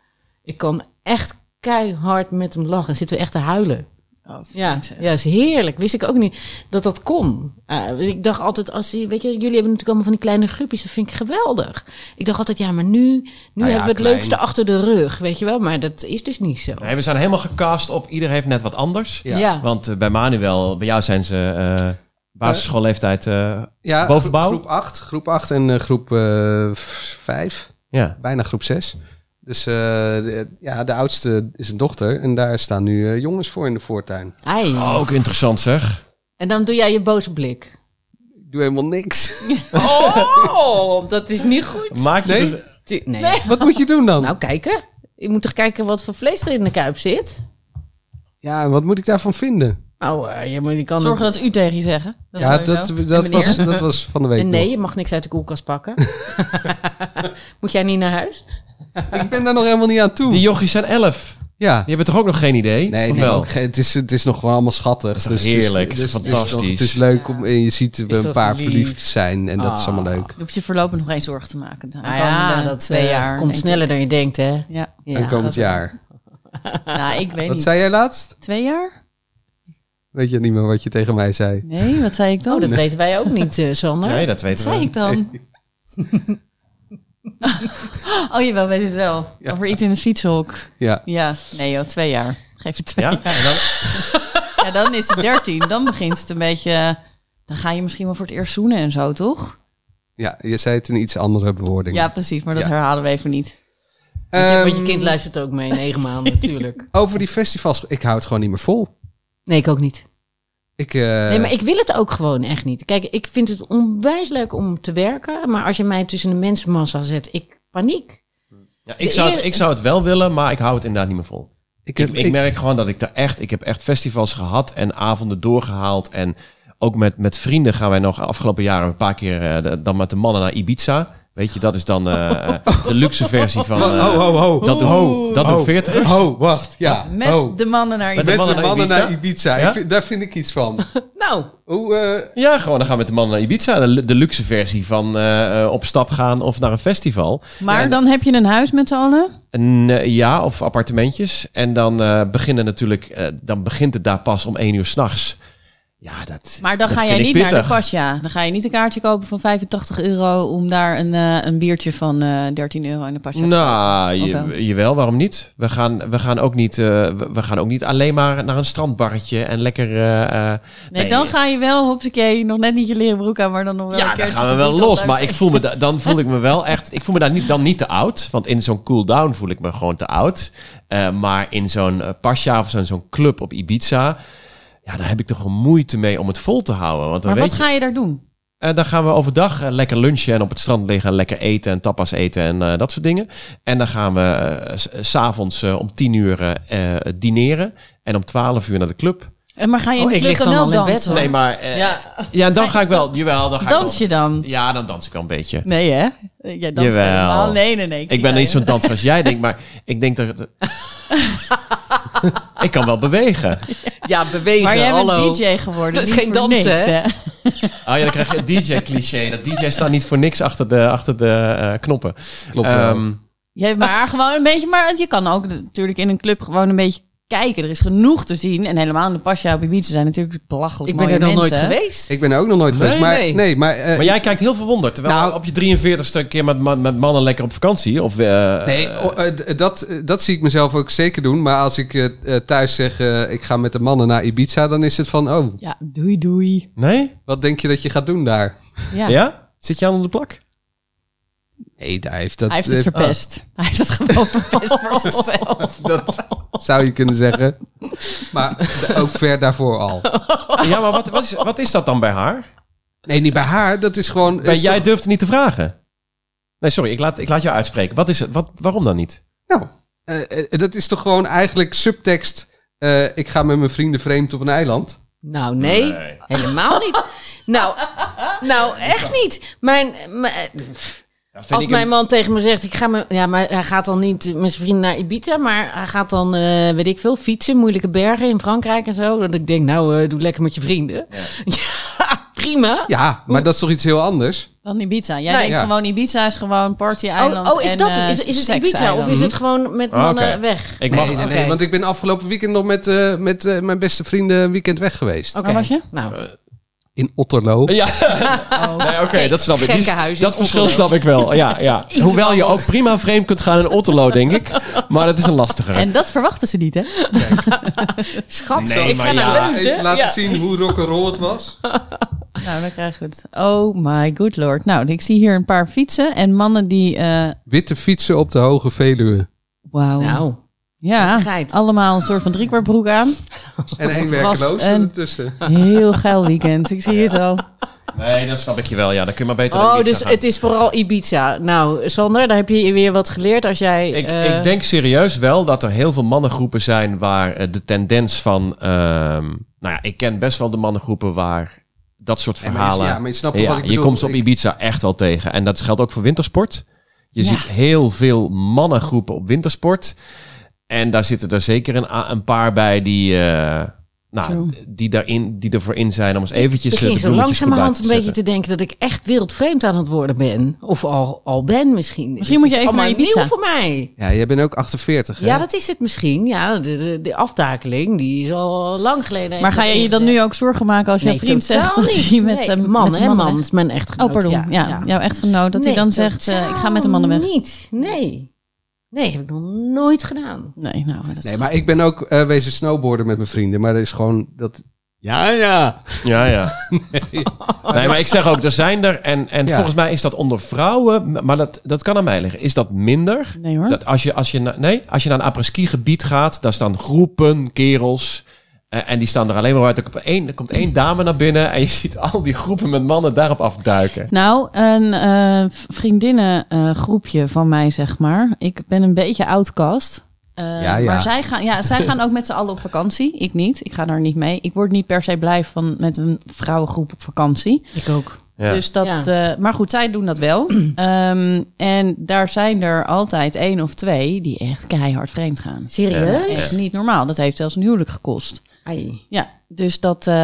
D: Ik kan echt keihard met hem lachen. Dan zitten we echt te huilen.
B: Oh, fijn,
D: Ja,
B: zeg.
D: ja, is heerlijk. Wist ik ook niet dat dat kon. Eh, ik dacht altijd, als die, weet je, jullie hebben natuurlijk allemaal van die kleine groepjes, dat vind ik geweldig. Ik dacht altijd, ja, maar nu, nu hebben we het
E: klein.
D: leukste achter de rug, weet je wel. Maar dat is dus niet zo.
E: Nee, we zijn helemaal gecast op ieder heeft net wat anders.
C: Ja.
D: ja.
E: Want eh, bij Manuel, bij jou zijn ze eh, basisschoolleeftijd... eh,
C: Ja,
E: Bovenbouw?
C: Groep 8, groep 8 en eh, groep 5,
E: ja.
C: bijna groep 6. Dus eh, de- ja, de oudste is een dochter en daar staan nu eh, jongens voor in de voortuin.
D: Ai.
E: Ook interessant zeg.
D: En dan doe jij je boze blik.
C: Ik doe helemaal niks.
F: Oh, dat is niet goed.
E: Maak je
C: Nee.
E: dus-
D: Tu- nee.
C: Wat moet je doen dan?
D: Nou, kijken. Je moet toch kijken wat voor vlees er in de kuip zit?
C: Ja, en wat moet ik daarvan vinden?
D: Nou, eh, ja, maar die kan
B: Zorgen
D: het-
B: dat ze u tegen je zeggen.
C: ja,
B: zou je
C: dat,
B: wel.
C: dat,
B: En meneer?
C: was, dat was van de week
D: En nee, je mag niks uit de koelkast pakken. Moet jij niet naar huis?
C: nog. Ik ben daar nog helemaal niet aan toe.
E: Die jochies zijn elf.
C: ja.
E: Die hebben toch ook nog geen idee?
C: Nee,
E: of
C: die
E: wel?
C: ook geen- het, is, het is nog gewoon allemaal schattig. Dus
E: is toch heerlijk, het is
C: het
E: fantastisch.
C: Het is, leuk om, en je ziet we
D: Is
C: een
D: toch
C: paar
D: lief?
C: verliefd zijn en dat is
D: Ah.
C: allemaal leuk.
B: Je hoeft je voorlopig nog geen zorgen te maken. De
D: Nou ja,
B: komende
D: dat
B: twee
D: eh,
B: jaar, denk
D: komt
B: ik.
D: sneller dan je denkt, hè?
B: Ja.
D: Ja.
C: en komend
B: dat-
C: jaar.
B: Nou, ik weet
C: Wat
B: niet.
C: zei jij laatst?
B: Twee jaar?
C: Weet je niet meer wat je tegen mij zei?
B: Nee, wat zei ik dan?
D: Oh, dat weten wij ook niet, eh, Sander.
E: Nee, dat weten
B: Wat zei
E: we.
B: ik dan? oh, jawel, weet het wel.
C: Ja.
B: Over iets in het fietshok.
C: Ja.
B: Ja, nee joh, twee jaar. Geef het twee
E: Ja? Ja, en dan-
B: jaar. Ja, dan is het dertien. Dan begint het een beetje... Dan ga je misschien wel voor het eerst zoenen en zo, toch?
C: ja, je zei het in iets andere bewoording.
B: Ja, precies. Maar dat
C: Ja.
B: herhalen we even niet.
C: Ehm,
D: Want je kind luistert ook mee, negen maanden natuurlijk.
C: Over die festivals, ik hou het gewoon niet meer vol.
D: Nee, ik ook niet.
C: Ik, eh,
D: Nee, maar ik wil het ook gewoon echt niet. Kijk, ik vind het onwijs leuk om te werken, maar als je mij tussen de mensenmassa zet, ik paniek.
E: Ja, ik, zou het,
D: eer-
E: ik zou het wel willen, maar ik hou het inderdaad niet meer vol.
C: ik
E: Ik,
C: heb,
E: ik merk gewoon dat ik daar echt... Ik heb echt festivals gehad en avonden doorgehaald. En ook met, met vrienden gaan wij nog afgelopen jaren... een paar keer eh, de- dan met de mannen naar Ibiza. Weet je, dat is dan eh, de luxe versie van eh,
C: ho, ho, ho.
E: dat doen,
C: Ho,
E: dat
C: ho.
E: doen 40
C: Oh, wacht. Ja.
B: Met
C: ho.
B: de mannen naar je.
E: Oh. Met
C: Met de mannen,
E: Ibiza?
C: naar Ibiza.
E: Ja?
C: Ik vind- daar vind ik iets van.
F: Nou,
C: Hoe, eh,
E: Ja, gewoon dan gaan we met de mannen naar Ibiza. De, de luxe versie van eh, eh, op stap gaan of naar een festival.
B: Maar dan heb je een huis met z'n allen.
E: Een eh, ja, of appartementjes. En dan eh, beginnen natuurlijk, eh, dan begint het daar pas om één uur s'nachts. Ja, dat.
B: Maar dan
E: dat
B: ga jij
E: vind ik
B: niet naar de
E: pittig.
B: pasja. Dan ga je niet een kaartje kopen van 85 euro om daar een, eh, een biertje van eh 13 euro in de pasja te
E: Nou, je-
B: Of wel?
E: jawel, waarom niet? We gaan, we, gaan ook niet eh, we we gaan ook niet alleen maar naar een strandbarretje en lekker. eh, eh,
B: Nee, dan ga je wel, hopsakee, nog net niet je leren broek aan, maar dan nog wel
E: ja,
B: een
E: dan
B: keertje
E: gaan we wel
B: gevoed
E: los.
B: op
E: Maar
B: thuis.
E: ik voel me da- dan voel ik me wel echt. Ik voel me daar niet, dan niet te oud. Want in zo'n cool-down voel ik me gewoon te oud. Eh, maar in zo'n eh, pasja of zo'n zo'n club op Ibiza. Ja, daar heb ik toch een moeite mee om het vol te houden. Want dan
B: Maar
E: weet
B: wat
E: je,
B: ga je daar doen?
E: Eh, dan gaan we overdag eh, lekker lunchen en op het strand liggen. en Lekker eten en tapas eten en eh, dat soort dingen. En dan gaan we eh, s- s'avonds eh, om tien uur eh, eh, dineren. En om twaalf uur naar de club.
B: Eh, Maar ga je in
D: Oh,
B: de
D: ik
B: club
D: lig
B: dan
D: dan
B: wel
D: al in bed,
B: dansen?
D: hoor.
E: Nee, maar... eh, ja.
F: ja.
E: dan ga ik wel. Jawel, dan ga
B: Dans
E: ik
B: je dan?
E: wel. Ja, dan dans ik wel een beetje.
B: Nee, hè? Jij danst
E: Jawel.
B: helemaal. Nee, nee, nee.
E: Ik ben niet zo'n danser als jij, denk maar ik denk dat... het- ik kan wel bewegen.
F: ja, bewegen,
B: Maar jij bent
F: hallo.
B: DJ geworden.
F: Dat is
B: niet
F: geen
B: voor
F: dansen,
B: niks,
F: hè?
E: Oh ja, dan krijg je het DJ-cliché. Dat DJ staat niet voor niks achter de, achter de eh, knoppen.
C: Klopt wel.
E: Ehm,
B: Je hebt maar gewoon een beetje, maar je kan ook natuurlijk in een club gewoon een beetje kijken. Er is genoeg te zien. En helemaal in de pasja op Ibiza zijn natuurlijk belachelijk
F: Ik ben
B: mooie
F: er nog nooit
B: mensen.
F: geweest.
C: ik ben er ook nog nooit
E: Nee,
C: geweest. Maar, nee.
F: nee.
C: maar, eh,
E: Maar jij kijkt heel verwonderd. Terwijl
C: Nou-
E: op je 43ste een keer met, ma- met mannen lekker op vakantie. Of, eh,
C: Nee, oh, eh, d- dat, eh, dat zie ik mezelf ook zeker doen. Maar als ik eh, eh, thuis zeg, eh, ik ga met de mannen naar Ibiza, dan is het van, oh,
B: Ja, doei doei.
E: nee?
C: wat denk je dat je gaat doen daar?
B: Ja.
E: Ja. Zit je aan onder de plak?
C: Nee, hij heeft eh,
B: Hij heeft het verpest. Hij heeft het gewoon verpest voor zichzelf.
C: dat zou je kunnen zeggen. Maar d- ook ver daarvoor al.
E: Ja, maar wat, wat, is, wat is dat dan bij haar?
C: Nee, niet bij haar. Dat is gewoon...
E: Bij,
C: is
E: jij
C: toch-
E: durft het niet te vragen. Nee, sorry, ik laat, ik laat jou uitspreken. Wat is het? Wat, waarom dan niet?
C: Nou, eh, eh, dat is toch gewoon eigenlijk subtekst... eh, ik ga met mijn vrienden vreemd op een eiland.
F: Nou, nee, helemaal niet. Nou, nou, echt niet. Mijn, mijn- als mijn man tegen me zegt, ik ga me, ja, maar hij gaat dan niet met zijn vrienden naar Ibiza, maar hij gaat dan, eh, weet ik veel, fietsen, moeilijke bergen in Frankrijk en zo. Dat ik denk, nou, eh, doe lekker met je vrienden. Ja, prima. Oh,
C: Ja, maar dat is toch iets heel anders?
B: Dan Ibiza. Jij
F: Nee.
B: denkt
C: Ja.
B: gewoon Ibiza is gewoon party-eiland.
F: oh, oh, is
B: en,
F: dat
B: eh,
F: Is, is het Ibiza
B: sekseiland.
F: of is het gewoon met mannen
E: Ah, Oké.
F: weg?
E: Ik mag...
C: nee, nee, nee,
F: oké.
C: want ik ben afgelopen weekend nog met, eh, met eh, mijn beste vrienden een weekend weg geweest.
B: Waar was je?
F: Nou,
E: Eh,
C: In Otterlo.
E: Ja,
B: Oh.
E: nee, oké, dat snap ik. Die-
F: Gekkenhuis in
E: dat verschil
F: Otterlo.
E: snap ik wel. Ja, ja. Hoewel je ook prima vreemd kunt gaan in Otterlo, denk ik. Maar dat is een lastiger.
B: En dat verwachten ze niet, hè?
F: schat,
E: Nee,
F: ik
E: maar
F: ga naar
E: ja.
F: Leusden.
C: Even laten
F: Ja.
C: zien hoe rock'n'roll het was.
B: Nou, dan krijgen we het. Oh my good lord. Nou, ik zie hier een paar fietsen en mannen die... eh,
C: Witte fietsen op de Hoge Veluwe.
B: Wauw.
F: Nou,
B: ja,
F: geit.
B: allemaal een soort van driekwart aan.
C: En één
B: was
C: werkeloos
B: een-
C: ertussen.
B: Heel geil weekend. Ik zie het al.
E: Nee, dat snap ik je wel. Ja, dan kun je maar beter
F: Oh,
E: naar Ibiza
F: dus
E: gaan.
F: het is vooral Ibiza. Nou, Sander, daar heb je weer wat geleerd als jij...
E: Ik,
F: eh,
E: ik denk serieus wel dat er heel veel mannengroepen zijn waar eh, de tendens van. ehm, nou ja, ik ken best wel de mannengroepen waar dat soort
C: Ja, maar je-
E: verhalen.
C: ja, maar je snapt toch wat ik
E: je
C: bedoel?
E: komt ze op
C: Ik-
E: Ibiza echt wel tegen. En dat geldt ook voor wintersport. Je
B: Ja.
E: ziet heel veel mannengroepen op wintersport. En daar zitten er zeker een, a- een paar bij die. eh, nou, die, daarin, die ervoor in zijn om eens eventjes
F: Ik
E: eh,
F: begin
E: de
F: zo
E: bloemetjes goed
F: langzamerhand
E: buiten
F: een
E: te
F: beetje
E: zetten.
F: te denken dat ik echt wereldvreemd aan het worden ben. Of al, al ben misschien.
B: Misschien moet je
F: Het is
B: even naar
F: allemaal
B: Ibiza.
F: nieuw voor mij.
C: Ja, jij bent ook 48, hè?
F: Ja, dat is het misschien. Ja, de, de, de aftakeling die is al lang geleden.
B: Maar ga je je dan nu ook zorgen maken als je
F: nee,
B: vriend
F: totaal
B: zegt dat
F: niet.
B: hij met
F: Nee,
B: een
F: man,
B: met de
F: hè,
B: mannen
F: man,
B: weg-
F: is mijn echtgenoot.
B: Oh, pardon. Ja, jouw echtgenoot. Dat hij
F: Nee,
B: dan zegt, eh, ik ga met de mannen weg.
F: totaal Niet. Nee. Nee, heb ik nog nooit gedaan.
B: Nee, nou, maar dat is
C: Nee, maar ik ben ook eh, wezen snowboarden met mijn vrienden. Maar dat is gewoon... Dat... Ja, ja.
E: Ja, ja. Nee. maar ik zeg ook, er zijn er. En, en
C: Ja.
E: volgens mij is dat onder vrouwen, maar dat, dat kan aan mij liggen. Is dat minder?
B: Nee hoor.
E: Dat als, je, als, je na- nee, als je naar een apres-ski gebied gaat, daar staan groepen kerels. eh, en die staan er alleen maar uit. Er komt, één, er komt één dame naar binnen en je ziet al die groepen met mannen daarop afduiken.
B: Nou, een eh vriendinnengroepje van mij, zeg maar. Ik ben een beetje outcast. Eh,
C: Ja, ja.
B: Maar zij gaan, ja, zij gaan ook met z'n allen op vakantie. Ik niet. Ik ga daar niet mee. Ik word niet per se blij van met een vrouwengroep op vakantie.
F: Ik ook.
E: Ja.
B: Dus dat,
D: Ja.
B: eh, maar goed, zij doen dat wel. Ehm, en daar zijn er altijd één of twee die echt keihard vreemd gaan.
D: Serieus?
B: Echt niet normaal. Dat heeft zelfs een huwelijk gekost.
D: Ai.
B: Ja, dus dat, eh,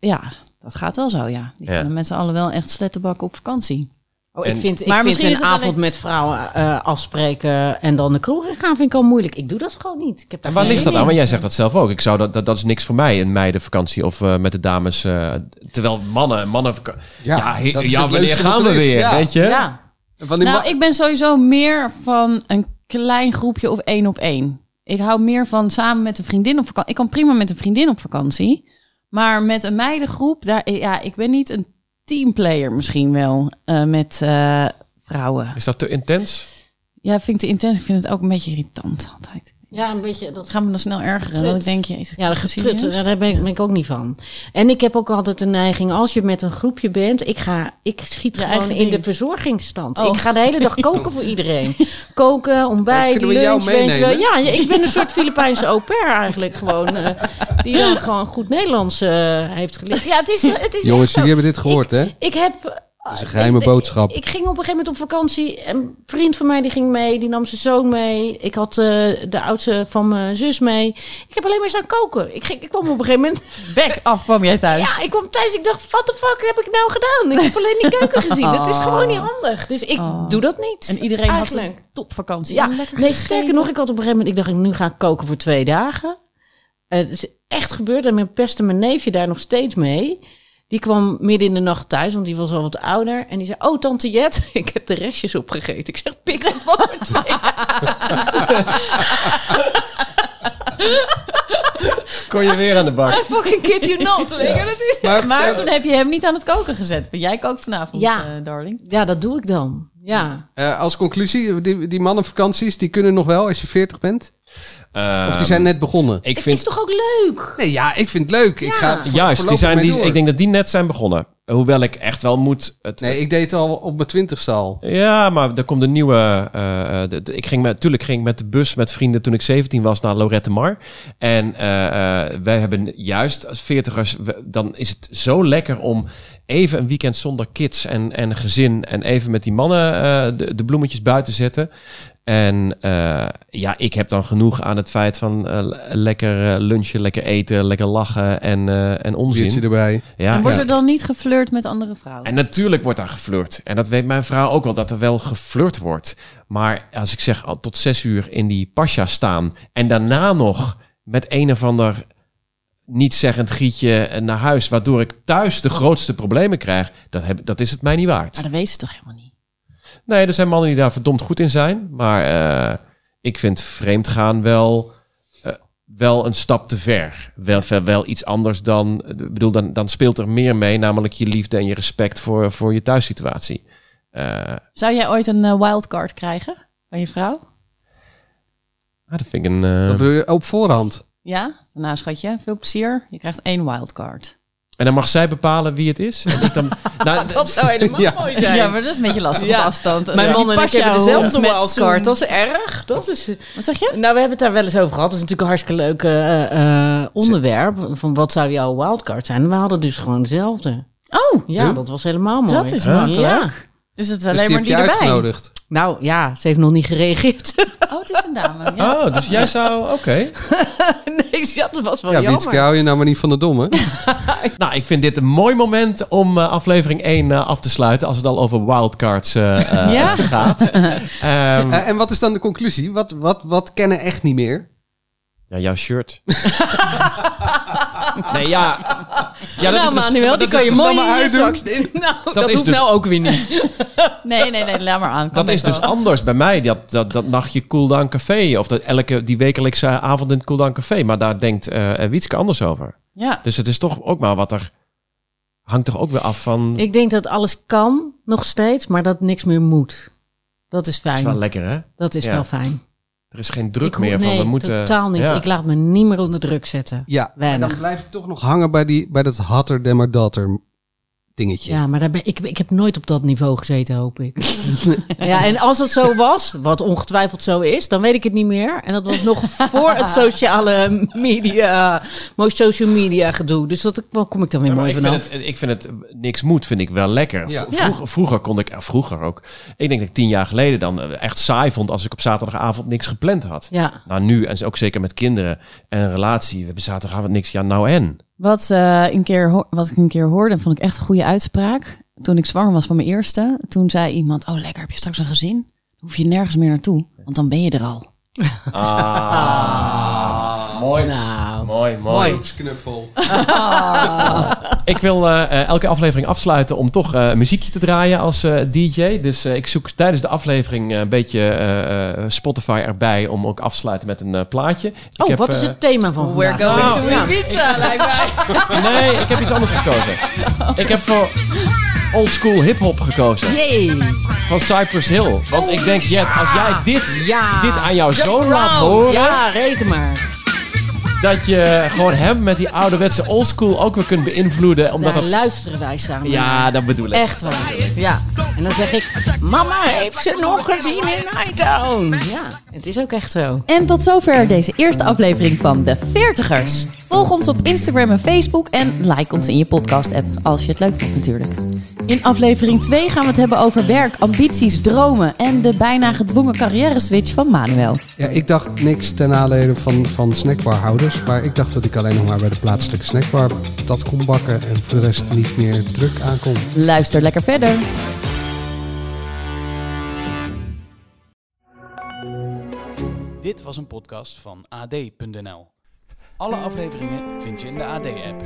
B: ja, dat gaat wel zo, ja. Die
E: Ja.
B: kunnen met z'n allen wel echt slettenbakken op vakantie.
D: Oh,
E: En-
D: ik vind, ik
B: Maar
D: vind
B: misschien is
D: een
B: het
D: avond
B: alleen-
D: met vrouwen eh, afspreken en dan de kroeg in gaan vind ik al moeilijk. Ik doe dat gewoon niet. Ik heb daar
E: En waar
D: geen
E: ligt
D: zin
E: dat aan? Want
D: in.
E: jij zegt dat zelf ook. Ik zou dat, dat, dat is niks voor mij, een meidenvakantie of eh, met de dames. eh, terwijl mannen, mannen. Ja, ja, he-
C: dat is
E: ja
C: het
E: wanneer
C: leukste wat
E: gaan we
C: er is.
E: weer?
C: Ja.
E: Weet je?
D: Ja.
C: Wanneer
B: nou,
C: ma-
B: ik ben sowieso meer van een klein groepje of één op één. Ik hou meer van samen met een vriendin op vakantie. Ik kan prima met een vriendin op vakantie. Maar met een meidengroep, daar, ja, ik ben niet een teamplayer misschien wel eh, met eh, vrouwen.
E: Is dat te intens?
B: Ja, vind ik te intens. Ik vind het ook een beetje irritant altijd.
D: ja, een beetje dat
B: Het gaat me dan snel ergeren. Dat ik denk, jezus.
D: Ja, dat
B: serieus?
D: getrut, daar ben ik, ben ik ook niet van. En ik heb ook altijd de neiging, als je met een groepje bent, ik, ga, ik schiet gewoon
B: eigen
D: in de
B: ding.
D: verzorgingsstand.
B: Oh.
D: Ik ga de hele dag koken voor iedereen. Koken, ontbijt,
C: Kunnen we jou
D: lunch, weet je wel.
C: meenemen?
D: Ja, ja, ik ben een soort Filipijnse au pair eigenlijk gewoon. eh, die dan gewoon goed Nederlands eh, heeft geleerd. Ja, het is, het is
C: Jongens,
D: echt zo.
C: jullie hebben dit gehoord, hè?
D: Ik heb... eh,
C: is een geheime boodschap.
D: Ik, ging op een gegeven moment op vakantie. Een vriend van mij die ging mee, die nam zijn zoon mee. Ik had eh, de oudste van mijn zus mee. Ik heb alleen maar staan koken. Ik, ging, ik kwam op een gegeven moment...
B: Bek af kwam jij thuis.
D: Ja, ik kwam thuis. Ik dacht, what the fuck heb ik nou gedaan? Ik heb alleen die keuken gezien. Het
C: Oh.
D: is gewoon niet handig. Dus ik
B: Oh.
D: doe dat niet.
B: En iedereen had
D: Eigenlijk.
B: een topvakantie.
D: Ja,
B: En lekker
D: nee,
B: gegeten.
D: sterker nog, ik had op een gegeven moment... Ik dacht, nu ga ik koken voor twee dagen. En het is echt gebeurd. En mijn pestte mijn neefje daar nog steeds mee. Die kwam midden in de nacht thuis, want die was al wat ouder. En die zei, oh, tante Jet, ik heb de restjes opgegeten. Ik zeg, pik dat wat voor twee.
E: Kon je weer aan de bak?
D: I fucking kid you not. Weet je, dat is...
B: Maar toen heb je hem niet aan het koken gezet. Want Jij kookt vanavond,
D: Ja.
B: eh, darling.
D: Ja, dat doe ik dan. Ja.
C: Eh, als conclusie, die, die mannenvakanties, die kunnen nog wel als je 40 bent? Of die
E: Ehm,
C: zijn net begonnen?
E: Ik
D: het
E: vind
D: is toch ook leuk?
C: Nee, ja, ik vind het leuk. Ik ga vo-
E: juist, die
C: voorlopig
E: zijn,
C: mee
E: die,
C: door.
E: ik denk dat die net zijn begonnen. Hoewel ik echt wel moet. Het,
C: Nee, ik deed het al op mijn twintigste al.
E: Ja, maar er komt een nieuwe. eh, eh, de- de- ik ging met, tuurlijk ging ik met de bus met vrienden toen ik 17 was naar Lorette Mar. En eh, eh, wij hebben juist als veertigers, we- dan is het zo lekker om even een weekend zonder kids en, en gezin en even met die mannen eh, de, de bloemetjes buiten zetten. En eh, ja, ik heb dan genoeg aan het feit van eh, le- lekker eh, lunchen, lekker eten, lekker lachen en, eh, en
C: Biertje
E: onzin.
C: erbij.
E: Ja,
B: en wordt
E: ja.
B: er dan niet geflirt met andere vrouwen?
E: En natuurlijk wordt daar geflirt. En dat weet mijn vrouw ook wel, dat er wel geflirt wordt. Maar als ik zeg al tot zes uur in die pasja staan... en daarna nog met een of ander nietszeggend gietje eh, naar huis... waardoor ik thuis de grootste problemen krijg... dat, heb, Ah, dat is het mij niet waard.
B: Maar dat weten ze toch helemaal niet?
E: Nee, er zijn mannen die daar verdomd goed in zijn. Maar eh, ik vind vreemdgaan wel, eh, wel een stap te ver. Wel, wel, wel iets anders dan... eh, Ik bedoel, dan, dan speelt er meer mee. Namelijk je liefde en je respect voor, voor je thuissituatie. Eh,
B: Zou jij ooit een eh, wildcard krijgen van je vrouw?
E: ah, dat vind ik een... eh,
C: Dat bedoel je op voorhand.
B: Ja? Nou, schatje, veel plezier. Je krijgt één wildcard.
E: en dan mag zij bepalen wie het is. En ik dan, nou, d-
F: Dat zou helemaal
C: Ja.
F: mooi zijn.
B: Ja, maar dat is een beetje lastig
F: Ja.
B: op afstand.
F: Mijn
B: Die
F: man en ik
B: pasja
F: hebben
B: hoort
F: dezelfde
B: met
F: wildcard.
B: zoen.
F: Dat is erg. Dat is...
B: Wat zeg je?
F: Nou, we hebben het daar wel eens over gehad. Dat is natuurlijk een hartstikke leuk eh, eh, onderwerp. Van wat zou jouw wildcard zijn? We hadden dus gewoon dezelfde.
B: Oh,
F: Ja, dat was helemaal mooi.
B: dat is
E: Huh?
B: makkelijk.
F: Ja.
B: Dus het is
C: Dus
B: alleen
C: die
B: maar
C: heb
B: die
C: je
B: erbij.
C: uitgenodigd.
F: Nou ja, ze heeft nog niet gereageerd.
B: Oh, het is een dame. Ja.
E: Oh, dus jij zou... Oké.
F: nee, dat was
D: Oh,
F: wel
C: Ja,
F: jammer.
C: Wietske, hou je nou maar niet van de domme.
E: Nou, ik vind dit een mooi moment om eh, aflevering 1 af te sluiten... als het al over wildcards eh, eh,
B: Ja.
E: gaat. Ehm,
C: Eh, en wat is dan de conclusie? Wat, wat, wat kennen echt niet meer?
E: Ja, jouw shirt. nee, ja. ja dat
F: nou,
E: is dus-
F: Manuel,
E: maar
F: die
E: dat
F: kan
E: is
F: je
E: dus-
F: mooi
E: maar
F: in je
E: uitdoen.
F: zak steken. Nou, dat,
E: is
F: hoeft
E: dus-
F: nou ook weer niet.
B: Nee, nee, nee, laat maar aan. Kan
E: Dat is
B: best
E: dus
B: wel.
E: anders bij mij, dat, dat, dat nachtje cooldown café. Of dat elke, die wekelijkse avond in het cooldown café. Maar daar denkt eh Wietske anders over.
B: Ja.
E: Dus het is toch ook maar wat er... Hangt toch ook weer af van...
D: Ik denk dat alles kan, nog steeds, maar dat niks meer moet. Dat is
E: dat
D: fijn.
E: is wel lekker, hè?
D: Dat is
E: Ja.
D: wel fijn.
E: Er is geen druk
D: Ik hoef-
E: meer van
D: nee,
E: we moeten...
D: totaal niet.
E: Ja.
D: Ik laat me niet meer onder druk zetten.
C: Ja, en dan
D: Weinig.
C: blijf ik toch nog hangen bij, die, bij dat hatter demmer datter dingetje.
D: Ja, maar daar ben, ik, ik heb nooit op dat niveau gezeten, hoop ik. ja, en als het zo was, wat ongetwijfeld zo is, dan weet ik het niet meer. En dat was nog voor het sociale media, mooi social media gedoe. Dus dat waar kom ik dan weer
E: Ja, maar
D: mooi
E: ik, vind
D: vanaf.
E: het, ik vind het eh, niks moet, vind ik wel lekker.
C: Ja.
E: V- Vroeger, vroeger kon ik, eh, vroeger ook. Ik denk dat ik tien jaar geleden dan eh, echt saai vond als ik op zaterdagavond niks gepland had.
D: Ja.
E: Nou, nu, en ook zeker met kinderen en een relatie, we hebben zaterdagavond niks. Ja, nou en?
B: Wat, eh, een keer, ho- wat ik een keer hoorde, vond ik echt een goede uitspraak. Toen ik zwanger was van mijn eerste, toen zei iemand: Oh, lekker, heb je straks een gezin? Dan hoef je nergens meer naartoe, want dan ben je er al.
D: Ah.
E: mooi.
D: Nou,
E: Mooi,
D: mooi.
C: Groepsknuffel.
E: Ik wil eh, eh, elke aflevering afsluiten om toch eh, muziekje te draaien als eh, DJ. Dus eh, ik zoek tijdens de aflevering eh, een beetje eh, eh, Spotify erbij om ook af te sluiten met een eh, plaatje. Ik
D: Oh,
E: heb,
D: wat is
E: eh,
D: het thema van vandaag?
E: going to
D: Ja.
B: pizza, lijkt mij.
E: Nee, ik heb iets anders gekozen. Ik heb voor oldschool hip-hop gekozen.
D: Jee.
E: Van Cypress Hill. Want ik denk, Jet, als jij dit,
D: Oh, Ja.
E: dit aan jouw
D: The
E: zoon laat
D: crowd.
E: horen.
D: Ja, reken maar.
E: dat je gewoon hem met die ouderwetse oldschool ook weer kunt beïnvloeden. Omdat
D: Daar
E: dat.
D: luisteren wij samen.
E: Ja, dat bedoel ik.
D: Echt waar. Ja. En dan zeg ik, mama heeft ze nog gezien in Hightown. Ja, het is ook echt zo.
B: En tot zover deze eerste aflevering van De Veertigers. Volg ons op Instagram en Facebook en like ons in je podcast-app als je het leuk vindt natuurlijk. In aflevering 2 gaan we het hebben over werk, ambities, dromen en de bijna gedwongen carrière-switch van Manuel.
C: Ja, ik dacht niks ten nadele van, van snackbarhouders. Maar ik dacht dat ik alleen nog maar bij de plaatselijke snackbar dat kon bakken. En voor de rest niet meer druk aankom.
B: Luister lekker verder.
A: Dit was een podcast van AD.nl. Alle afleveringen vind je in de AD-app.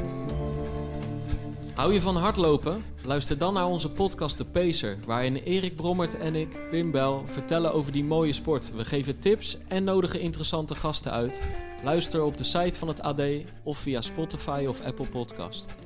H: Hou je van hardlopen? Luister dan naar onze podcast De Pacer, waarin Erik Brommert en ik, Pim Bel, vertellen over die mooie sport. We geven tips en nodigen interessante gasten uit. Luister op de site van het AD of via Spotify of Apple Podcast.